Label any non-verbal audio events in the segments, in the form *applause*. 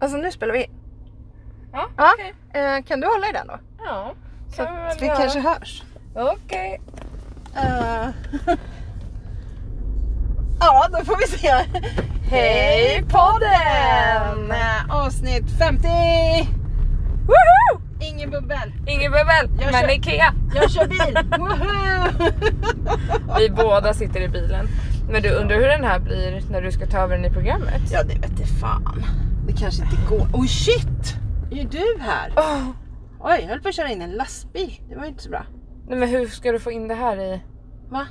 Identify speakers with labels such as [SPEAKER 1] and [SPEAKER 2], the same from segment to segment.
[SPEAKER 1] Alltså nu spelar vi in.
[SPEAKER 2] Ja,
[SPEAKER 1] Ja.
[SPEAKER 2] okej.
[SPEAKER 1] Eh, kan du hålla i den då?
[SPEAKER 2] Ja,
[SPEAKER 1] Så
[SPEAKER 2] kan
[SPEAKER 1] att
[SPEAKER 2] väl
[SPEAKER 1] vi
[SPEAKER 2] göra.
[SPEAKER 1] kanske hörs.
[SPEAKER 2] Okej.
[SPEAKER 1] Eh, *laughs* ja, då får vi se. Hej podden! Eh, Avsnitt 50!
[SPEAKER 2] Woho!
[SPEAKER 1] Ingen bubbel.
[SPEAKER 2] Ingen bubbel,
[SPEAKER 1] Jag
[SPEAKER 2] men
[SPEAKER 1] kör-
[SPEAKER 2] IKEA.
[SPEAKER 1] Jag kör *laughs* bil! Woho!
[SPEAKER 2] *laughs* Vi båda sitter i bilen. Men du undrar hur den här blir när du ska ta över den i programmet?
[SPEAKER 1] ja, det vet jag fan. Det kanske inte går. Oj shit! Är du här?
[SPEAKER 2] Åh,
[SPEAKER 1] Oj, jag höll på att köra in en lastbil. Det var ju inte så bra.
[SPEAKER 2] nej men hur ska du få in det här i...
[SPEAKER 1] Va?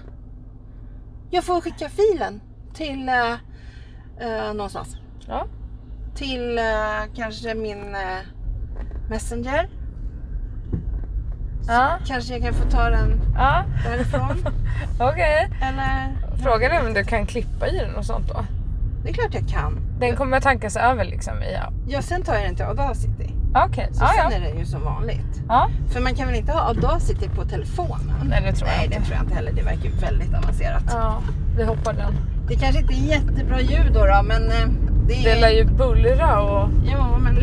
[SPEAKER 1] Jag får skicka filen till eh, eh, någonstans.
[SPEAKER 2] Ja.
[SPEAKER 1] Till eh, kanske min eh, Messenger.
[SPEAKER 2] Ja.
[SPEAKER 1] Kanske jag kan få ta den
[SPEAKER 2] *laughs* ja.
[SPEAKER 1] därifrån.
[SPEAKER 2] Okej.
[SPEAKER 1] Eller?
[SPEAKER 2] Frågan är om du kan klippa i den och sånt då?
[SPEAKER 1] Det är klart jag kan.
[SPEAKER 2] Den kommer att tankas över liksom i... ja.
[SPEAKER 1] Ja, sen tar jag den till Audacity.
[SPEAKER 2] Okej,
[SPEAKER 1] Så
[SPEAKER 2] ja,
[SPEAKER 1] sen
[SPEAKER 2] ja.
[SPEAKER 1] är den ju som vanligt.
[SPEAKER 2] ja.
[SPEAKER 1] För man kan väl inte ha Audacity på telefonen?
[SPEAKER 2] Nej det tror jag
[SPEAKER 1] Nej, det
[SPEAKER 2] inte.
[SPEAKER 1] tror jag inte heller. Det verkar ju väldigt avancerat.
[SPEAKER 2] Ja, vi hoppar den.
[SPEAKER 1] Det kanske inte är jättebra ljud då, då men eh, det är...
[SPEAKER 2] Det lär ju bullra och...
[SPEAKER 1] Ja, men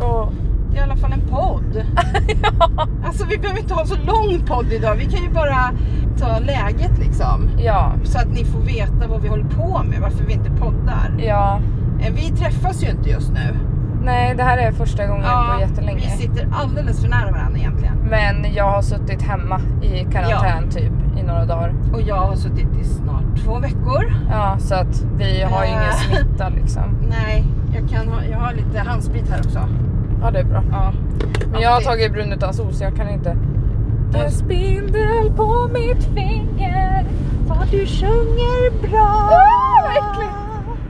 [SPEAKER 2] och...
[SPEAKER 1] det är i alla fall en podd.
[SPEAKER 2] *laughs* ja.
[SPEAKER 1] Alltså vi behöver inte ha så lång podd idag. Vi kan ju bara ta läget liksom.
[SPEAKER 2] ja,
[SPEAKER 1] Så att ni får veta vad vi håller på med, varför vi inte poddar.
[SPEAKER 2] ja.
[SPEAKER 1] Eh, Vi träffas ju inte just nu.
[SPEAKER 2] Nej, det här är första gången på jättelänge.
[SPEAKER 1] vi sitter alldeles för nära varandra egentligen.
[SPEAKER 2] Men jag har suttit hemma i karantän typ i några dagar.
[SPEAKER 1] Och jag har suttit i snart två veckor.
[SPEAKER 2] Ja, så att vi har ju ingen
[SPEAKER 1] Äh.
[SPEAKER 2] smitta liksom.
[SPEAKER 1] Nej, jag, kan ha, jag har lite handsprit här också.
[SPEAKER 2] Ja, det är bra.
[SPEAKER 1] Ja.
[SPEAKER 2] Men jag har
[SPEAKER 1] Alltid.
[SPEAKER 2] tagit brunutansol så jag kan inte. En spindel på mitt finger.
[SPEAKER 1] Vad du sjunger bra!
[SPEAKER 2] Åh, vad äckligt.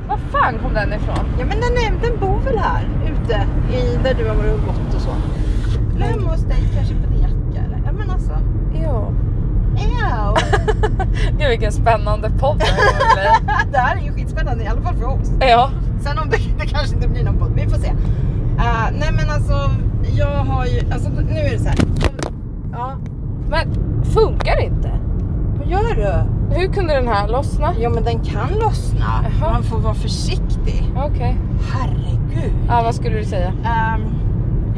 [SPEAKER 2] Var fan kom den ifrån?
[SPEAKER 1] Ja men den, är, den bor väl här ute i där du har varit och gått och så. Eller hemma hos dig kanske på din jacka eller? Ja men alltså.
[SPEAKER 2] Jo.
[SPEAKER 1] Ew.
[SPEAKER 2] *laughs* Gud vilken spännande podd det här kommer
[SPEAKER 1] *laughs*
[SPEAKER 2] bli.
[SPEAKER 1] det här är ju skitspännande i alla fall för oss.
[SPEAKER 2] Ja.
[SPEAKER 1] Sen om *laughs* det, det kanske inte blir någon podd, vi får se. Eh, nej men alltså jag har ju, alltså nu är det så här. Ja.
[SPEAKER 2] Men funkar inte?
[SPEAKER 1] Vad gör du?
[SPEAKER 2] Hur kunde den här lossna?
[SPEAKER 1] Jo men den kan lossna.
[SPEAKER 2] Jaha.
[SPEAKER 1] Man får vara försiktig.
[SPEAKER 2] Okej.
[SPEAKER 1] Herregud.
[SPEAKER 2] Ja, vad skulle du säga?
[SPEAKER 1] Ehm,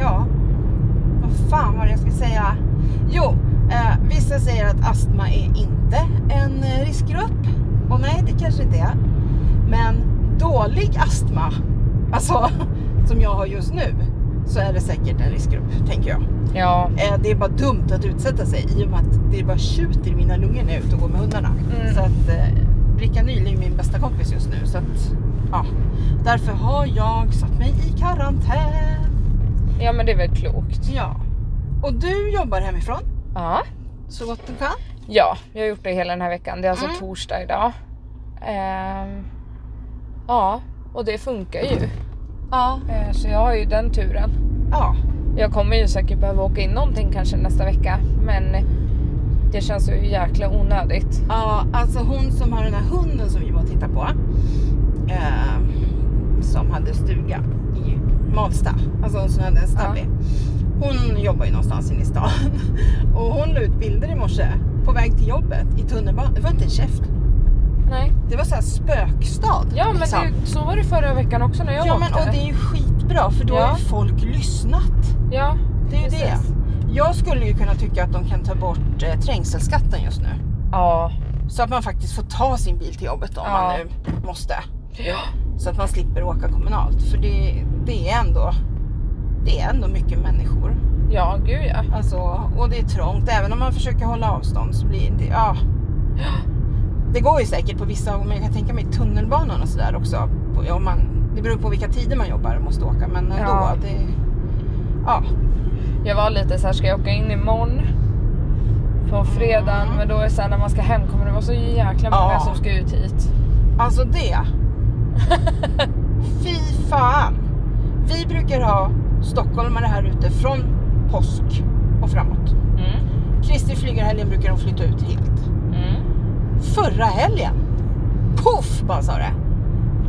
[SPEAKER 1] ja, vad fan var det jag skulle säga? Jo, eh, vissa säger att astma är inte en eh, riskgrupp. Och nej, det kanske inte är. Men dålig astma, alltså *laughs* som jag har just nu, så är det säkert en riskgrupp, tänker jag.
[SPEAKER 2] Ja.
[SPEAKER 1] Eh, det är bara dumt att utsätta sig i och med att det bara tjuter i mina lungor när jag är ute och går med hundarna.
[SPEAKER 2] Mm.
[SPEAKER 1] Så att eh, Bricka Nyhl är min bästa kompis just nu. Så att, ja. Därför har jag satt mig i karantän.
[SPEAKER 2] Ja, men det är väl klokt.
[SPEAKER 1] Ja. Och du jobbar hemifrån
[SPEAKER 2] Ja.
[SPEAKER 1] så gott du kan.
[SPEAKER 2] Ja, jag har gjort det hela den här veckan. Det är alltså
[SPEAKER 1] Mm.
[SPEAKER 2] torsdag idag. Ehm, ja, och det funkar ju.
[SPEAKER 1] Ja.
[SPEAKER 2] Eh, så jag har ju den turen.
[SPEAKER 1] Ja.
[SPEAKER 2] Jag kommer ju säkert behöva åka in någonting kanske nästa vecka, men det känns ju jäkla onödigt.
[SPEAKER 1] ja alltså hon som har den här hunden som vi var och tittade på. Eh, som hade stuga i Malsta. Alltså hon som hade en stabby. Hon jobbar ju någonstans inne i stan. *laughs* Och hon la ut bilder i morse på väg till jobbet i tunnelbanan. Det var inte en käft.
[SPEAKER 2] Nej.
[SPEAKER 1] Det var så här spökstad.
[SPEAKER 2] Ja, men
[SPEAKER 1] liksom.
[SPEAKER 2] det, är ju- så var det förra veckan också när jag
[SPEAKER 1] ja,
[SPEAKER 2] åkte.
[SPEAKER 1] men, och det är ju skitbra för då
[SPEAKER 2] Ja.
[SPEAKER 1] har ju folk lyssnat.
[SPEAKER 2] Ja,
[SPEAKER 1] Det är ju det.
[SPEAKER 2] precis.
[SPEAKER 1] Jag skulle ju kunna tycka att de kan ta bort eh, trängselskatten just nu.
[SPEAKER 2] Ja.
[SPEAKER 1] Så att man faktiskt får ta sin bil till jobbet om
[SPEAKER 2] Ja.
[SPEAKER 1] man nu måste.
[SPEAKER 2] ja.
[SPEAKER 1] Så att man slipper åka kommunalt. För det, det är ändå det är ändå mycket människor.
[SPEAKER 2] Ja, gud ja.
[SPEAKER 1] Alltså, och det är trångt. Även om man försöker hålla avstånd så blir det... Ja. Det går ju säkert på vissa, men jag kan tänka mig tunnelbanan och sådär också. På- Om man, det beror på vilka tider man jobbar och måste åka. Men ändå.
[SPEAKER 2] Ja.
[SPEAKER 1] Det, ja.
[SPEAKER 2] Jag var lite så här, ska jag åka in imorgon? På fredagen,
[SPEAKER 1] Mm.
[SPEAKER 2] men då är det så här, när man ska hem kommer det vara så jäkla många
[SPEAKER 1] Ja.
[SPEAKER 2] som ska ut hit.
[SPEAKER 1] Alltså det. Fy fan. Vi brukar ha stockholmare här ute från påsk och framåt.
[SPEAKER 2] Mm.
[SPEAKER 1] Kristi flygarhelgen brukar de flytta ut helt.
[SPEAKER 2] Mm.
[SPEAKER 1] Förra helgen, poff bara sa det.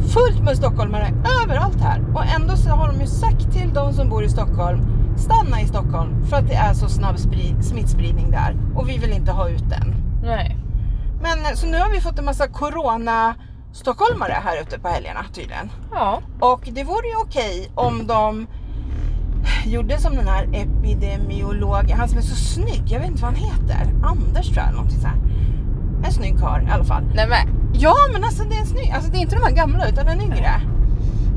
[SPEAKER 1] Fullt med stockholmare överallt här. Och ändå så har de ju sagt till de som bor i Stockholm, stanna i Stockholm för att det är så snabb spri- smittspridning där. Och vi vill inte ha ut den.
[SPEAKER 2] Nej.
[SPEAKER 1] Men eh, så nu har vi fått en massa corona stockholmare här ute på helgerna tydligen.
[SPEAKER 2] Ja,
[SPEAKER 1] Och det vore ju okej om de gjorde som den här epidemiologen, han som är så snygg, jag vet inte vad han heter, Anders tror jag eller någonting så här. En snygg karl i alla fall.
[SPEAKER 2] nej men.
[SPEAKER 1] Ja men alltså det är en snygg, alltså det är inte de här gamla utan den yngre.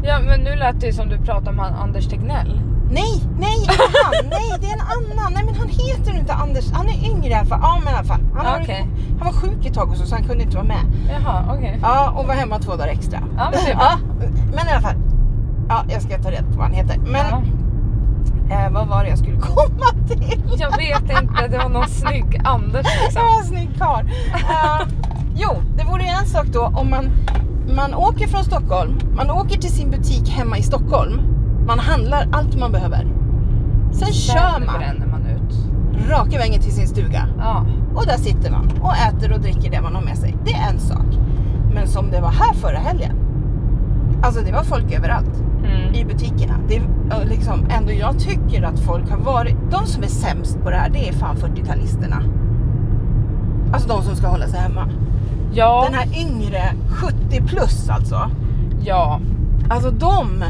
[SPEAKER 2] Ja men nu lät det ju som du pratade om han Anders Tegnell.
[SPEAKER 1] Nej, nej, inte han, nej det är en annan, nej men han heter inte Anders, han är yngre i alla fall. Ja men i alla fall, han, har-
[SPEAKER 2] Okej.
[SPEAKER 1] han var sjuk ett tag och så, så han kunde inte vara med.
[SPEAKER 2] Jaha, okej.
[SPEAKER 1] Ja, och var hemma två dagar extra.
[SPEAKER 2] Ja, men det är bra.
[SPEAKER 1] ja, typ. men i alla fall. Ja, jag ska ta reda på vad han heter. Men
[SPEAKER 2] Ja.
[SPEAKER 1] eh, vad var det jag skulle *laughs* komma till?
[SPEAKER 2] Jag vet inte, det var någon snygg Anders
[SPEAKER 1] Det
[SPEAKER 2] liksom.
[SPEAKER 1] var en snygg karl. Eh, jo, det vore ju en sak då om man, man åker från Stockholm, man åker till sin butik hemma i Stockholm, man handlar allt man behöver. Sen kör man
[SPEAKER 2] bränner man ut.
[SPEAKER 1] raka vägen till sin stuga
[SPEAKER 2] Ja.
[SPEAKER 1] och där sitter man och äter och dricker det man har med sig. Det är en sak. Men som det var här förra helgen, alltså det var folk överallt.
[SPEAKER 2] Mm.
[SPEAKER 1] i butikerna. Det är eh, liksom, ändå jag tycker att folk har varit, de som är sämst på det här det är fan 40-talisterna. Alltså de som ska hålla sig hemma.
[SPEAKER 2] Ja,
[SPEAKER 1] Den här yngre, 70 plus alltså.
[SPEAKER 2] ja.
[SPEAKER 1] Alltså de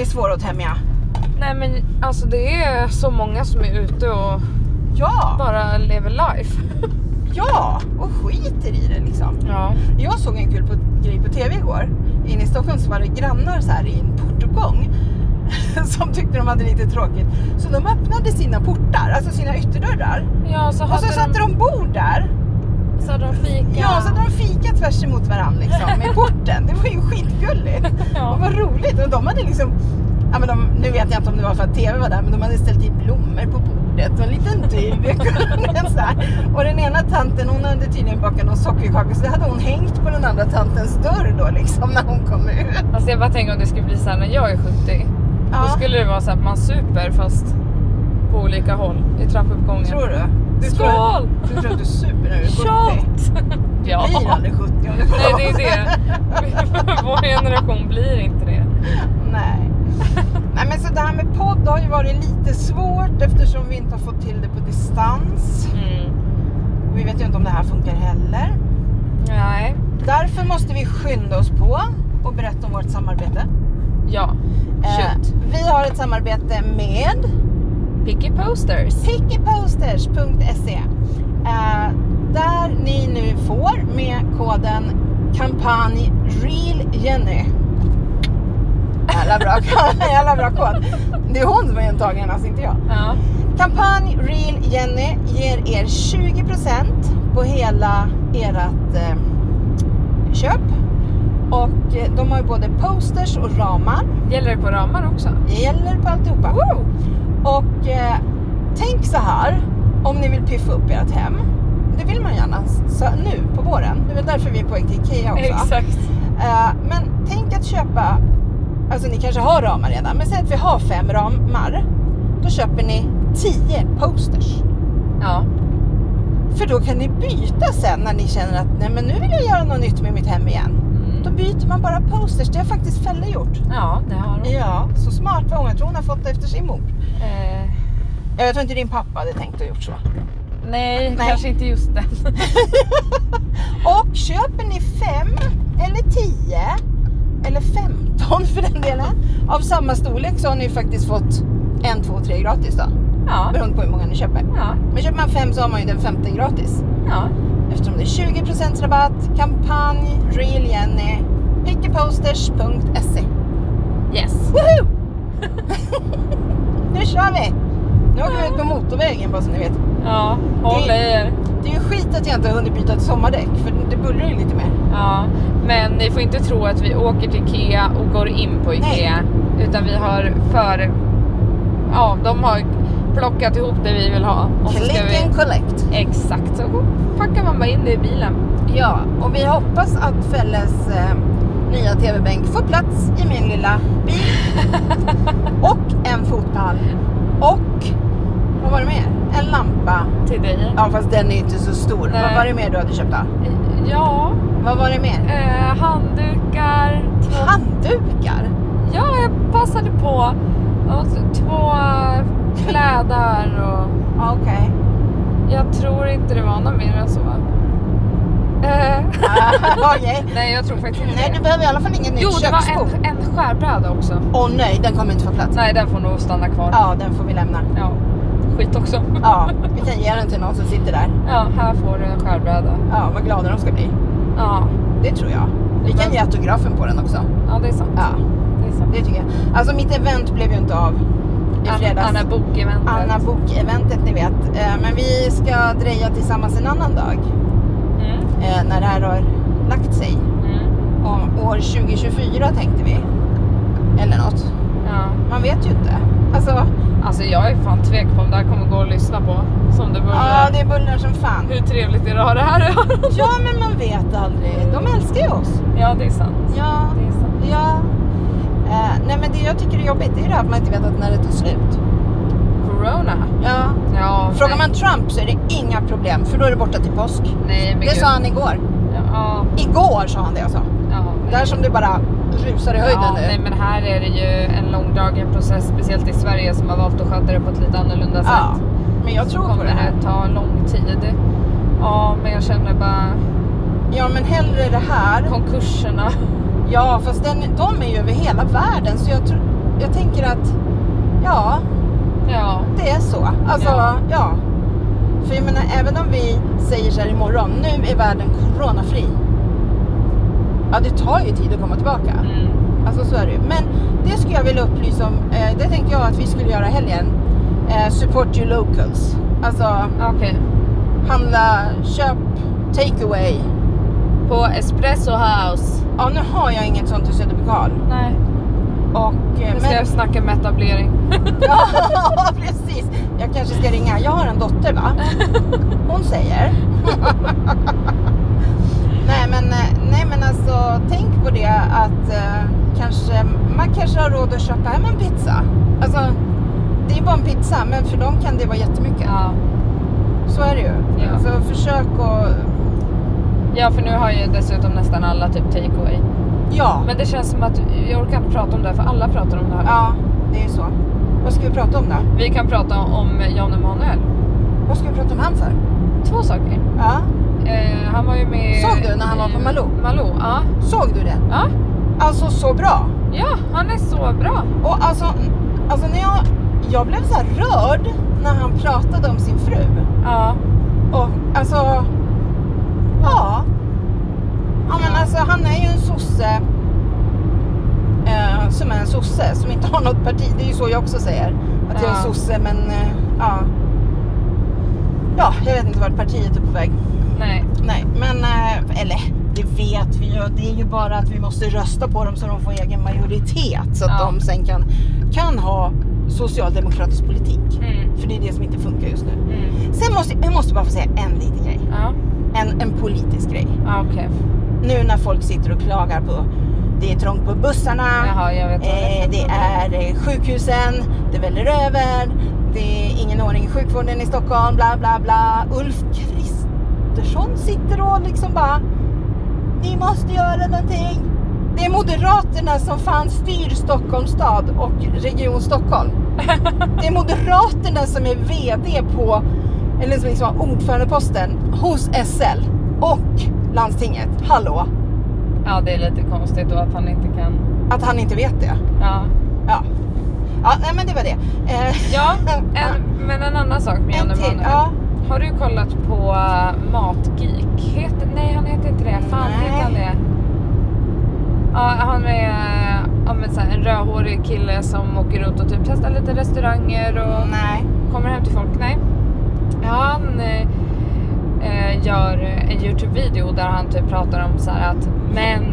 [SPEAKER 1] är svåra att tämja.
[SPEAKER 2] Nej men alltså det är så många som är ute och
[SPEAKER 1] Ja,
[SPEAKER 2] bara lever life.
[SPEAKER 1] ja, och skiter i det liksom.
[SPEAKER 2] Ja.
[SPEAKER 1] Jag såg en kul på, grej på TV igår. Inne i Stockholm så var det grannar så här i en portuppgång *laughs* som tyckte de hade lite tråkigt. Så de öppnade sina portar, alltså sina ytterdörrar.
[SPEAKER 2] Ja, så
[SPEAKER 1] Och så
[SPEAKER 2] hade
[SPEAKER 1] satte
[SPEAKER 2] de,
[SPEAKER 1] de bord där.
[SPEAKER 2] så hade de fika.
[SPEAKER 1] Ja, så hade de fika tvärs emot varandra liksom, i porten. Det var ju skitgulligt. Och
[SPEAKER 2] Ja.
[SPEAKER 1] vad roligt. Och de hade liksom, ja, men de, nu vet jag inte om det var för att tv var där, men de hade ställt i blommor på bordet och en liten duk. och en så här. och den ena tanten hon hade tydligen bakat någon sockerkaka så det hade hon hängt på den andra tantens dörr då liksom när hon kom ut.
[SPEAKER 2] Alltså jag bara tänker om det skulle bli såhär när jag är 70. Då
[SPEAKER 1] Ja,
[SPEAKER 2] skulle det vara så att man super fast på olika håll i trappuppgången.
[SPEAKER 1] tror du? du Tror,
[SPEAKER 2] Skål!
[SPEAKER 1] du tror att du super när du är 70?
[SPEAKER 2] Shot!
[SPEAKER 1] Du
[SPEAKER 2] *laughs* Ja.
[SPEAKER 1] blir aldrig 70 om du
[SPEAKER 2] Nej det är det. *laughs* Vår generation blir inte det.
[SPEAKER 1] Nej. Nej men så det här med podd har ju varit lite svårt eftersom vi inte har fått till det på distans.
[SPEAKER 2] Mm.
[SPEAKER 1] Och vi vet ju inte om det här funkar heller.
[SPEAKER 2] Nej.
[SPEAKER 1] Därför måste vi skynda oss på och berätta om vårt samarbete. Eh,
[SPEAKER 2] Ja. Shoot.
[SPEAKER 1] vi har ett samarbete med
[SPEAKER 2] Picky posters.
[SPEAKER 1] pickeposters.se eh, där ni nu får med koden kampanj REALJENNY. Jävla bra, *laughs* jävla bra kod. Det är hon som är intagen, alltså inte jag.
[SPEAKER 2] Ja.
[SPEAKER 1] Kampanj Real Jenny ger er 20% på hela ert eh, köp. Och eh, de har ju både posters och ramar.
[SPEAKER 2] Gäller det på ramar också?
[SPEAKER 1] Gäller på alltihopa. Och eh, tänk så här, om ni vill piffa upp ert hem. Det vill man gärna s- så nu på våren. Det är väl därför vi är på väg till IKEA också.
[SPEAKER 2] Exakt.
[SPEAKER 1] Eh, men tänk att köpa, alltså ni kanske har ramar redan, men säg att vi har fem ramar. Då köper ni 10 posters.
[SPEAKER 2] Ja.
[SPEAKER 1] För då kan ni byta sen när ni känner att nej men nu vill jag göra något nytt med mitt hem igen. Då
[SPEAKER 2] Mm.
[SPEAKER 1] byter man bara posters, det har faktiskt Felle gjort.
[SPEAKER 2] Ja, det har de.
[SPEAKER 1] Mm. Ja, så smart var hon. Jag tror hon har fått det efter sin mor.
[SPEAKER 2] Eh,
[SPEAKER 1] Ja, Jag tror inte din pappa hade tänkt och gjort så.
[SPEAKER 2] nej,
[SPEAKER 1] Nej.
[SPEAKER 2] kanske inte just den.
[SPEAKER 1] *laughs*
[SPEAKER 2] *laughs*
[SPEAKER 1] Och köper ni fem eller tio eller 15 för den delen av samma storlek så har ni faktiskt fått en, två, tre gratis då.
[SPEAKER 2] Ja.
[SPEAKER 1] Beroende på hur många ni köper.
[SPEAKER 2] Ja.
[SPEAKER 1] Men köper man fem så har man ju den femte gratis.
[SPEAKER 2] Ja.
[SPEAKER 1] Eftersom det är 20% rabatt, kampanj, Real Jenny, pickeposters.se.
[SPEAKER 2] Yes.
[SPEAKER 1] Woho! *laughs* nu kör vi! Nu åker vi ut på motorvägen bara så ni vet.
[SPEAKER 2] Ja, håll i er.
[SPEAKER 1] Det är ju skit att jag inte har hunnit byta ett sommardäck för det bullrar ju lite mer.
[SPEAKER 2] Ja, men ni får inte tro att vi åker till IKEA och går in på IKEA. Utan vi har för... Ja, de har plockat ihop det vi vill ha. Och så ska
[SPEAKER 1] Click
[SPEAKER 2] vi...
[SPEAKER 1] and collect.
[SPEAKER 2] Exakt, så packar man bara in det i bilen.
[SPEAKER 1] Ja, och vi hoppas att Felles eh, nya TV-bänk får plats i min lilla bil. *laughs* och en fotpall. Och, vad var det mer? En lampa.
[SPEAKER 2] Till dig.
[SPEAKER 1] Ja, fast den är ju inte så stor.
[SPEAKER 2] Nej.
[SPEAKER 1] Vad var det mer du hade köpt då?
[SPEAKER 2] Ja,
[SPEAKER 1] Vad var det mer?
[SPEAKER 2] eh, handdukar. Två...
[SPEAKER 1] Handdukar?
[SPEAKER 2] Ja, jag passade på. Och så två klädar och...
[SPEAKER 1] Ja, Okej.
[SPEAKER 2] Jag tror inte det var något mer än så. Eh, *laughs*
[SPEAKER 1] Ah, *laughs* Okej.
[SPEAKER 2] nej, jag tror faktiskt inte
[SPEAKER 1] Nej, du
[SPEAKER 2] det.
[SPEAKER 1] behöver i alla fall ingen nytt
[SPEAKER 2] Jo, det var
[SPEAKER 1] köksbord.
[SPEAKER 2] en, en skärbräda också.
[SPEAKER 1] Åh nej, den kommer inte få plats.
[SPEAKER 2] Nej, den får nog stanna kvar.
[SPEAKER 1] Ja, den får vi lämna.
[SPEAKER 2] Ja, skit också.
[SPEAKER 1] Ja, vi kan ge den till någon som sitter där.
[SPEAKER 2] Ja, här får du en skärbräda.
[SPEAKER 1] Ja, vad glada de ska bli.
[SPEAKER 2] Ja,
[SPEAKER 1] Det tror jag. Vi kan ge autografen på den också.
[SPEAKER 2] ja det är sant.
[SPEAKER 1] Ja,
[SPEAKER 2] Det är sant.
[SPEAKER 1] det tycker jag. Alltså mitt event blev ju inte av i
[SPEAKER 2] Anna,
[SPEAKER 1] fredags.
[SPEAKER 2] Anna Bok-eventet.
[SPEAKER 1] Anna Bok-eventet ni vet. Eh, Men vi ska dreja tillsammans en annan dag
[SPEAKER 2] Mm,
[SPEAKER 1] eh, när det här har lagt sig.
[SPEAKER 2] mm,
[SPEAKER 1] Om år 2024 tänkte vi. Eller något.
[SPEAKER 2] ja.
[SPEAKER 1] Man vet ju inte. Alltså,
[SPEAKER 2] Alltså jag är fan tvek på om det här kommer gå att lyssna på. Som det
[SPEAKER 1] ja
[SPEAKER 2] bullrar.
[SPEAKER 1] det är bullrar som
[SPEAKER 2] *laughs*
[SPEAKER 1] fan.
[SPEAKER 2] Hur trevligt är det att ha det här
[SPEAKER 1] Ja men man vet aldrig. De älskar ju oss.
[SPEAKER 2] Ja, det är sant.
[SPEAKER 1] Ja.
[SPEAKER 2] Det är sant.
[SPEAKER 1] Ja. Eh, nej men det jag tycker är jobbigt det är ju det här att man inte vet att när det tar slut.
[SPEAKER 2] Corona.
[SPEAKER 1] Ja.
[SPEAKER 2] Ja,
[SPEAKER 1] Frågar
[SPEAKER 2] nej.
[SPEAKER 1] man Trump så är det inga problem för då är det borta till påsk.
[SPEAKER 2] Nej, men
[SPEAKER 1] Det
[SPEAKER 2] gud.
[SPEAKER 1] sa han igår.
[SPEAKER 2] Ja,
[SPEAKER 1] Igår sa han det alltså.
[SPEAKER 2] ja.
[SPEAKER 1] Där som det bara rusar i höjden
[SPEAKER 2] ja,
[SPEAKER 1] nu.
[SPEAKER 2] nej men här är det ju en långdragen process, speciellt i Sverige som har valt att sköta det på ett lite annorlunda
[SPEAKER 1] ja.
[SPEAKER 2] sätt.
[SPEAKER 1] Men jag tror på
[SPEAKER 2] alltså, kommer
[SPEAKER 1] det här.
[SPEAKER 2] ta lång tid. Ja, men jag känner bara
[SPEAKER 1] Ja men hellre det här.
[SPEAKER 2] konkurserna. *laughs*
[SPEAKER 1] Ja fast den, de är ju över hela världen så jag, tror, jag tänker att ja,
[SPEAKER 2] Ja,
[SPEAKER 1] det är så. Alltså ja.
[SPEAKER 2] Ja.
[SPEAKER 1] För jag menar även om vi säger så här imorgon, nu är världen coronafri. Ja det tar ju tid att komma tillbaka.
[SPEAKER 2] mm.
[SPEAKER 1] Alltså så är det ju. Men det skulle jag vilja upplysa om. Eh, det tänkte jag att vi skulle göra i helgen. Eh, support your locals. Alltså
[SPEAKER 2] okej.
[SPEAKER 1] handla, köp, take away.
[SPEAKER 2] På Espresso House.
[SPEAKER 1] Ja nu har jag inget sånt i Söderbykarl.
[SPEAKER 2] Nej,
[SPEAKER 1] Och... eh,
[SPEAKER 2] nu ska jag snacka med etablering.
[SPEAKER 1] Ja, *laughs* precis. Jag kanske ska ringa. Jag har en dotter va? Hon säger. *laughs* nej, men, eh, nej men alltså tänk på det att eh, kanske, man kanske har råd att köpa hem en pizza. Alltså det är bara en pizza men för dem kan det vara jättemycket.
[SPEAKER 2] Ja.
[SPEAKER 1] Så är det ju.
[SPEAKER 2] Ja.
[SPEAKER 1] Så försök att...
[SPEAKER 2] ja, för nu har ju dessutom nästan alla typ takeaway.
[SPEAKER 1] Ja.
[SPEAKER 2] Men det känns som att jag orkar inte prata om det här, för alla pratar om det här.
[SPEAKER 1] ja, det är ju så. Vad ska vi prata om då?
[SPEAKER 2] Vi kan prata om Jan Emanuel.
[SPEAKER 1] Vad ska vi prata om han för?
[SPEAKER 2] Två saker.
[SPEAKER 1] Ja.
[SPEAKER 2] Eh, han var ju med...
[SPEAKER 1] Såg du när han var på
[SPEAKER 2] i-
[SPEAKER 1] Malou?
[SPEAKER 2] Malou, ja.
[SPEAKER 1] Såg du det?
[SPEAKER 2] ja.
[SPEAKER 1] Alltså så bra.
[SPEAKER 2] Ja, han är så bra.
[SPEAKER 1] Och alltså, alltså när jag, jag blev så här rörd när han pratade om sin fru.
[SPEAKER 2] Ja.
[SPEAKER 1] Och alltså, ja. ja men alltså, han är ju en sosse eh, som är en sosse som inte har något parti. Det är ju så jag också säger. Att jag är
[SPEAKER 2] Ja.
[SPEAKER 1] sosse men eh, ja. Ja, jag vet inte vart partiet är på väg.
[SPEAKER 2] Nej.
[SPEAKER 1] Nej, men eh, eller det vet vi ju. Det är ju bara att vi måste rösta på dem så de får egen majoritet så att
[SPEAKER 2] Ja.
[SPEAKER 1] de sen kan, kan ha socialdemokratisk politik.
[SPEAKER 2] Mm.
[SPEAKER 1] För det är det som inte funkar just nu.
[SPEAKER 2] Mm.
[SPEAKER 1] Sen måste jag måste bara få säga en liten grej.
[SPEAKER 2] Ja,
[SPEAKER 1] En, en politisk grej.
[SPEAKER 2] ja okej.
[SPEAKER 1] Nu när folk sitter och klagar på det är trångt på bussarna,
[SPEAKER 2] Jaha, jag vet vad det
[SPEAKER 1] eh,
[SPEAKER 2] är.
[SPEAKER 1] det är eh, sjukhusen, det väller över, det är ingen ordning i sjukvården i Stockholm, bla bla bla. Ulf Kristersson sitter och liksom bara, ni måste göra någonting. Det är Moderaterna som fan styr Stockholms stad och Region Stockholm. Det är Moderaterna som är VD på, eller som liksom har ordförandeposten hos SL och landstinget. Hallå!
[SPEAKER 2] Ja, det är lite konstigt då att han inte kan...
[SPEAKER 1] Att han inte vet det.
[SPEAKER 2] Ja.
[SPEAKER 1] Ja. Ja, nej men det var det. Eh,
[SPEAKER 2] Ja,
[SPEAKER 1] *laughs* Ja.
[SPEAKER 2] en, men en annan sak med Jan
[SPEAKER 1] en till.
[SPEAKER 2] Emanuel.
[SPEAKER 1] Ja.
[SPEAKER 2] Har du kollat på eh, Matgeek? Heter, nej, han heter inte det. Fan,
[SPEAKER 1] Nej.
[SPEAKER 2] heter han det? Ja, han är eh, ja, men så här, en rödhårig kille som åker runt och typ testar lite restauranger och
[SPEAKER 1] Nej.
[SPEAKER 2] kommer hem till folk. Nej. Han eh, eh, gör en Youtube-video där han typ pratar om så här att män,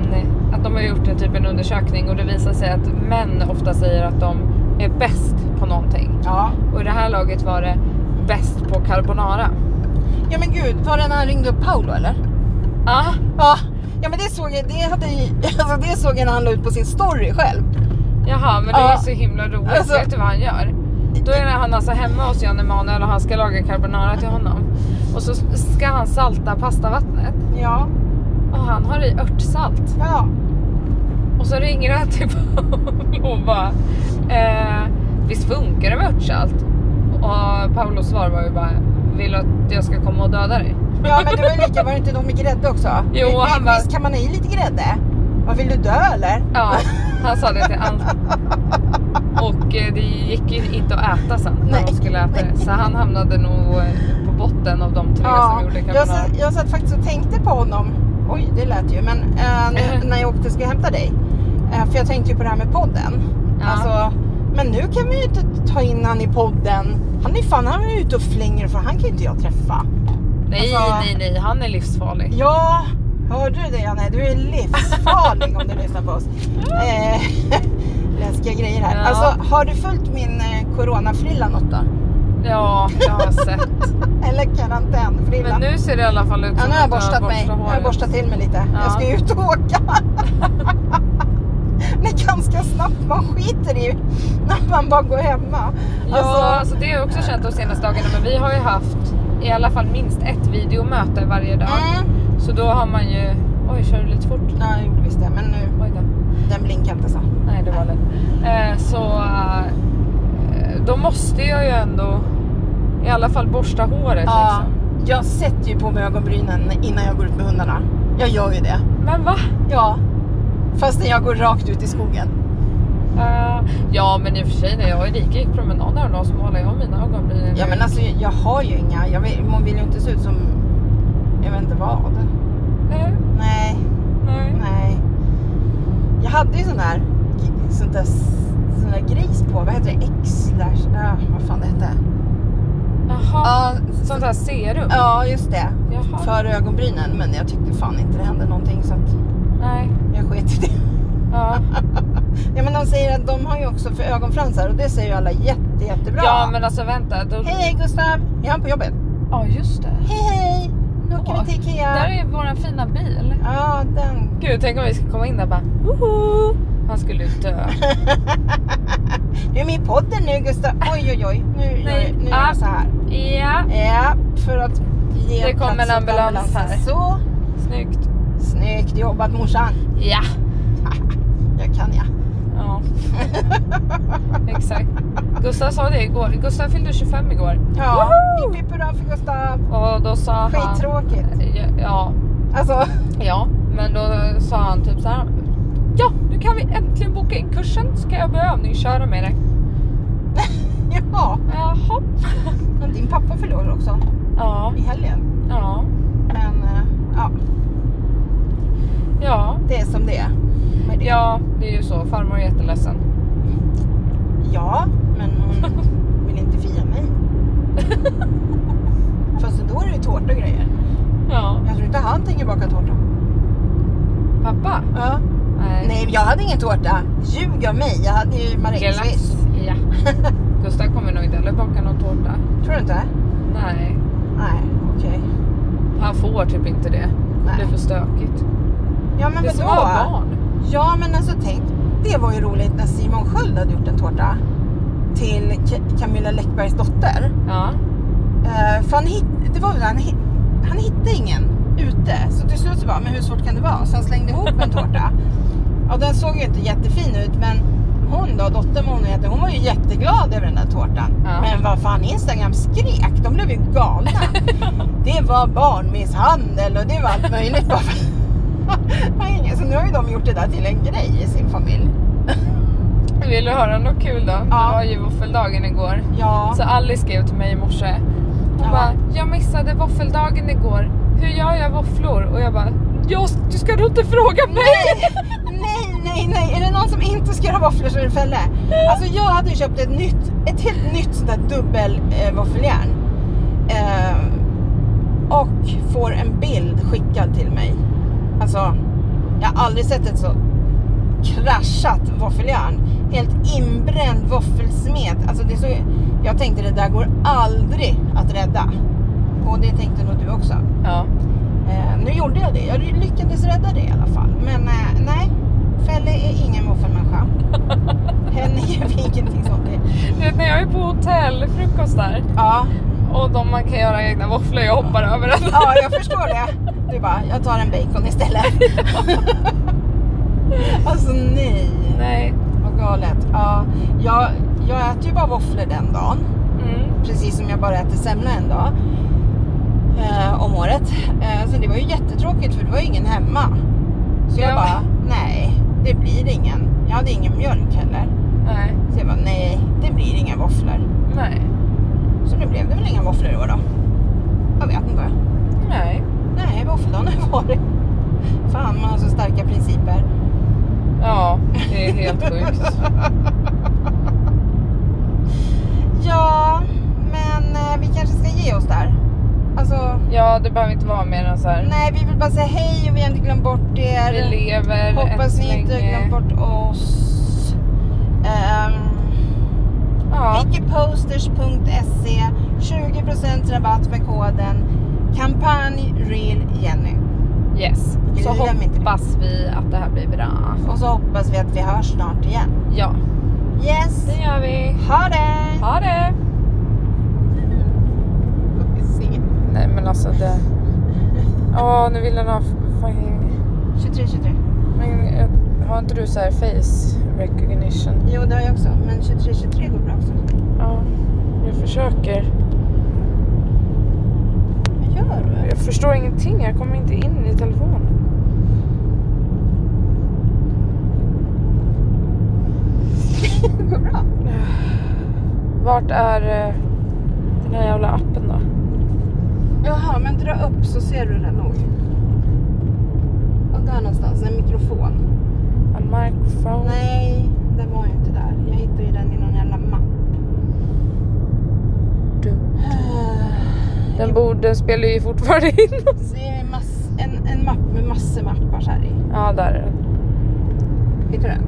[SPEAKER 2] att de har gjort en typ en undersökning och det visar sig att män ofta säger att de är bäst på någonting.
[SPEAKER 1] Ja.
[SPEAKER 2] Och i det här laget var det bäst på carbonara.
[SPEAKER 1] ja men gud, var det när han ringde upp Paolo eller?
[SPEAKER 2] Ja,
[SPEAKER 1] Ja. Ja men det såg jag, det, hade, *laughs* alltså det såg jag när han la ut på sin story själv.
[SPEAKER 2] jaha men det
[SPEAKER 1] Ja.
[SPEAKER 2] är så himla roligt.
[SPEAKER 1] Alltså-
[SPEAKER 2] Vet du vad han gör? Då är han alltså hemma hos Jan Emanuel och han ska laga carbonara till honom. Och så ska han salta pastavattnet
[SPEAKER 1] Ja.
[SPEAKER 2] och han har i örtsalt.
[SPEAKER 1] Ja.
[SPEAKER 2] Och så ringer han till Paolo och bara eh, Visst funkar det med örtsalt? Och Paolos svar var ju bara Vill du att jag ska komma och döda dig?
[SPEAKER 1] Ja men det var ju lika, var det inte något med grädde också?
[SPEAKER 2] Jo,
[SPEAKER 1] Vi-
[SPEAKER 2] och han
[SPEAKER 1] vi-
[SPEAKER 2] bara-
[SPEAKER 1] Visst kan man ha i lite grädde? Vad vill du dö eller?
[SPEAKER 2] Ja, han sa det till Ann. Och eh, det gick ju inte att äta sen när
[SPEAKER 1] Nej.
[SPEAKER 2] de skulle äta det. Så han hamnade nog eh, på botten av de tre som gjorde
[SPEAKER 1] jag,
[SPEAKER 2] carbonara.
[SPEAKER 1] satt, jag satt faktiskt och tänkte på honom. Oj, det lät ju. Men eh, *laughs* nu, när jag åkte ska jag hämta dig. Eh, för jag tänkte ju på det här med podden.
[SPEAKER 2] Ja.
[SPEAKER 1] Alltså, men nu kan vi ju inte ta in han i podden. Han är fan han är ute och flänger för han kan ju inte jag träffa.
[SPEAKER 2] nej,
[SPEAKER 1] alltså-
[SPEAKER 2] nej, nej, han är livsfarlig.
[SPEAKER 1] Ja, hörde du det Janne? Du är livsfarlig om du lyssnar på oss. Eh, *laughs* läskiga grejer här.
[SPEAKER 2] Ja.
[SPEAKER 1] Alltså, har du följt min eh, coronafrilla något då?
[SPEAKER 2] Ja, jag har sett.
[SPEAKER 1] Eller karantänfrilla?
[SPEAKER 2] Men nu ser det i alla fall ut
[SPEAKER 1] Ja,
[SPEAKER 2] som
[SPEAKER 1] nu har jag
[SPEAKER 2] att du
[SPEAKER 1] borstat mig. Jag har
[SPEAKER 2] håret.
[SPEAKER 1] borstat till mig lite.
[SPEAKER 2] Ja.
[SPEAKER 1] Jag ska ju ut och åka. *laughs* det är ganska snabbt man skiter i när man bara går hemma.
[SPEAKER 2] Ja, alltså, det har jag också känt de senaste dagarna. Men vi har ju haft i alla fall minst ett videomöte varje dag.
[SPEAKER 1] mm.
[SPEAKER 2] Så då har man ju... Oj, kör du lite fort?
[SPEAKER 1] Ja, jag gjorde visst det. Men nu,
[SPEAKER 2] Oj då.
[SPEAKER 1] den alltså. blinkar inte så.
[SPEAKER 2] Nej, det var lätt. Eh, så eh, då måste jag ju ändå i alla fall borsta håret.
[SPEAKER 1] Ja,
[SPEAKER 2] Liksom.
[SPEAKER 1] jag sätter ju på mig ögonbrynen innan jag går ut med hundarna. Jag gör ju det.
[SPEAKER 2] Men va?
[SPEAKER 1] Ja. Fastän jag går rakt ut i skogen.
[SPEAKER 2] Eh, ja, men i och för sig när jag och Erika gick promenad häromdagen så målade jag mina ögonbryn.
[SPEAKER 1] Ja men alltså jag har ju inga. Jag vill, man vill ju inte se ut som, jag vet inte vad.
[SPEAKER 2] Nej,
[SPEAKER 1] Nej.
[SPEAKER 2] nej.
[SPEAKER 1] Nej. Jag hade ju sån där, sån där, sån där gris på, vad heter det? X-slash, ja, vad fan det hette.
[SPEAKER 2] Jaha,
[SPEAKER 1] Ja,
[SPEAKER 2] sånt här serum?
[SPEAKER 1] ja, just det.
[SPEAKER 2] Jaha.
[SPEAKER 1] För ögonbrynen, men jag tyckte fan inte det hände någonting så att
[SPEAKER 2] Nej.
[SPEAKER 1] jag sket i det.
[SPEAKER 2] Ja.
[SPEAKER 1] Ja men de säger att de har ju också för ögonfransar och det säger ju alla jätte, jättebra.
[SPEAKER 2] ja, men alltså vänta. Då...
[SPEAKER 1] Hej hej Gustav, är han på jobbet?
[SPEAKER 2] Ja, just det.
[SPEAKER 1] Hej hej, nu åker
[SPEAKER 2] Åh,
[SPEAKER 1] vi till
[SPEAKER 2] Där
[SPEAKER 1] Ikea.
[SPEAKER 2] är våran fina bil.
[SPEAKER 1] Ja, den. *laughs*
[SPEAKER 2] Gud, tänk om vi ska komma in där och bara woho! Han skulle ju dö.
[SPEAKER 1] Du är med i podden nu Gustav. Oj oj oj, nu, gör
[SPEAKER 2] Nej,
[SPEAKER 1] jag- nu gör
[SPEAKER 2] ah.
[SPEAKER 1] jag så här.
[SPEAKER 2] Ja,
[SPEAKER 1] Ja, för att ge
[SPEAKER 2] Det kom
[SPEAKER 1] plats
[SPEAKER 2] en
[SPEAKER 1] åt
[SPEAKER 2] ambulans
[SPEAKER 1] ambulansen.
[SPEAKER 2] här.
[SPEAKER 1] Så,
[SPEAKER 2] snyggt.
[SPEAKER 1] snyggt jobbat morsan.
[SPEAKER 2] Ja.
[SPEAKER 1] Jag kan jag.
[SPEAKER 2] Ja, exakt. Gustav sa det igår. Gustav fyllde 25 igår.
[SPEAKER 1] *laughs* Ja,
[SPEAKER 2] Woho!
[SPEAKER 1] hipp hipp hurra för Gustav.
[SPEAKER 2] Och då sa han...
[SPEAKER 1] Skittråkigt.
[SPEAKER 2] Ja,
[SPEAKER 1] Alltså, *laughs*
[SPEAKER 2] ja, men då sa han typ så här. Ja, nu kan vi äntligen boka in kursen. Ska jag börja övningsköra med dig?
[SPEAKER 1] ja.
[SPEAKER 2] Jaha.
[SPEAKER 1] Men Din pappa förlorar också
[SPEAKER 2] *laughs* Ja,
[SPEAKER 1] i helgen.
[SPEAKER 2] ja,
[SPEAKER 1] Men eh, ja,
[SPEAKER 2] ja.
[SPEAKER 1] det är som det är. med det.
[SPEAKER 2] Ja, det är ju så. Farmor är jätteledsen. *laughs*
[SPEAKER 1] ja, men
[SPEAKER 2] *laughs*
[SPEAKER 1] hon vill inte fira mig. Fast då är det ju tårta och grejer.
[SPEAKER 2] Ja.
[SPEAKER 1] Jag tror inte han tänker baka tårta.
[SPEAKER 2] Pappa?
[SPEAKER 1] Ja.
[SPEAKER 2] Nej.
[SPEAKER 1] Nej, jag hade ingen tårta. Ljug av mig. Jag hade ju marängsviss.
[SPEAKER 2] Glass. Ja. Gustav kommer nog inte heller baka någon tårta.
[SPEAKER 1] *laughs* Tror du inte?
[SPEAKER 2] Nej,
[SPEAKER 1] Nej, okej.
[SPEAKER 2] han får typ inte det.
[SPEAKER 1] Nej.
[SPEAKER 2] Det är för stökigt.
[SPEAKER 1] Ja men
[SPEAKER 2] det är
[SPEAKER 1] vadå?
[SPEAKER 2] som att ha barn.
[SPEAKER 1] Ja men alltså tänk, det var ju roligt när Simon Sköld hade gjort en tårta till Ka- Camilla Läckbergs dotter.
[SPEAKER 2] Ja.
[SPEAKER 1] Eh, för han, hit, det var väl, han, hit, han hittade ingen ute, så till slut så bara, men hur svårt kan det vara? Så han slängde ihop en tårta. Och den såg ju inte jättefin ut, men hon då, dottern vad hon heter, hon var ju jätteglad över den där tårtan.
[SPEAKER 2] Ja.
[SPEAKER 1] Men vad fan, Instagram skrek, de blev ju galna. det var barnmisshandel och det var allt möjligt. *laughs* bara för- Vad är det? så nu har ju de gjort det där till en grej i sin familj.
[SPEAKER 2] Vill du höra något kul då?
[SPEAKER 1] Ja.
[SPEAKER 2] Det var ju våffeldagen igår.
[SPEAKER 1] Ja,
[SPEAKER 2] Så Alice skrev till mig i morse. Hon
[SPEAKER 1] Ja.
[SPEAKER 2] bara, jag missade våffeldagen igår. Hur gör jag våfflor? Och jag bara, jag, du ska du inte fråga mig!
[SPEAKER 1] nej, nej, nej. Är det någon som inte ska göra våfflor så är det Felle. Alltså jag hade ju köpt ett nytt, ett helt nytt sånt där dubbel eh, våffeljärn. Eh, och får en bild skickad till mig. Alltså, jag har aldrig sett ett så kraschat våffeljärn. Helt inbränd våffelsmet. Alltså det är så, jag tänkte det där går aldrig att rädda. Och det tänkte nog du också.
[SPEAKER 2] Ja.
[SPEAKER 1] Eh, nu gjorde jag det. Jag lyckades rädda det i alla fall. Men eh, nej, Felle är ingen våffelmänniska. Henne ger vi ingenting sånt till.
[SPEAKER 2] Du vet när jag är på hotellfrukost där
[SPEAKER 1] Ja,
[SPEAKER 2] och de, man kan göra egna våfflor, jag hoppar över den.
[SPEAKER 1] ja, jag förstår det. Du bara, jag tar en bacon istället. *laughs* alltså nej,
[SPEAKER 2] Nej.
[SPEAKER 1] vad galet. Ja, jag, jag äter ju bara våfflor den dagen.
[SPEAKER 2] Mm.
[SPEAKER 1] Precis som jag bara äter semla en dag. eh, om året. Eh, så det var ju jättetråkigt för det var ju ingen hemma. Så jag
[SPEAKER 2] Ja.
[SPEAKER 1] bara, nej, det blir ingen. Jag hade ingen mjölk heller.
[SPEAKER 2] Nej.
[SPEAKER 1] Så jag bara, nej, det blir inga våfflor.
[SPEAKER 2] Nej.
[SPEAKER 1] Så nu blev det väl inga våfflor i år då. Jag vet inte.
[SPEAKER 2] Nej.
[SPEAKER 1] Nej, våffeldagen har varit. Fan, man har så starka principer.
[SPEAKER 2] Ja, det är helt sjukt.
[SPEAKER 1] Ja, men eh, vi kanske ska ge oss där. Alltså,
[SPEAKER 2] Ja, det behöver inte vara mer än så här.
[SPEAKER 1] nej, vi vill bara säga hej och vi har inte glömt bort er.
[SPEAKER 2] Vi lever
[SPEAKER 1] Hoppas
[SPEAKER 2] än
[SPEAKER 1] ni
[SPEAKER 2] så
[SPEAKER 1] inte har
[SPEAKER 2] länge.
[SPEAKER 1] glömt bort oss. Um,
[SPEAKER 2] Ja,
[SPEAKER 1] Pickeposters.se 20% rabatt med koden kampanj real Jenny.
[SPEAKER 2] yes. Så
[SPEAKER 1] Glöm inte det.
[SPEAKER 2] hoppas vi att det här blir bra.
[SPEAKER 1] Och så hoppas vi att vi hörs snart igen.
[SPEAKER 2] Ja,
[SPEAKER 1] Yes!
[SPEAKER 2] det gör vi.
[SPEAKER 1] Ha det!
[SPEAKER 2] Ha det!
[SPEAKER 1] Får vi se.
[SPEAKER 2] Nej men alltså det... Åh, nu vill den ha fucking...
[SPEAKER 1] 23, 23.
[SPEAKER 2] Men eh, har inte du så här face recognition?
[SPEAKER 1] Jo, det har jag också. Men 23, 23 går bra också.
[SPEAKER 2] Ja, jag försöker.
[SPEAKER 1] Vad gör du?
[SPEAKER 2] Jag förstår ingenting, jag kommer inte in i telefonen.
[SPEAKER 1] Det *laughs* går bra.
[SPEAKER 2] Vart är eh, den här jävla appen då?
[SPEAKER 1] Jaha, men dra upp så ser du den nog. Och där någonstans, en mikrofon.
[SPEAKER 2] En microphone?
[SPEAKER 1] Nej, det var ju inte där. Jag hittade ju den i någon jävla mapp.
[SPEAKER 2] Du. Den, borde, den spelar ju fortfarande in oss.
[SPEAKER 1] *sighs* Det är mass, en, en mapp med massor med appar så här i.
[SPEAKER 2] Ja, där är den.
[SPEAKER 1] Hittar du den?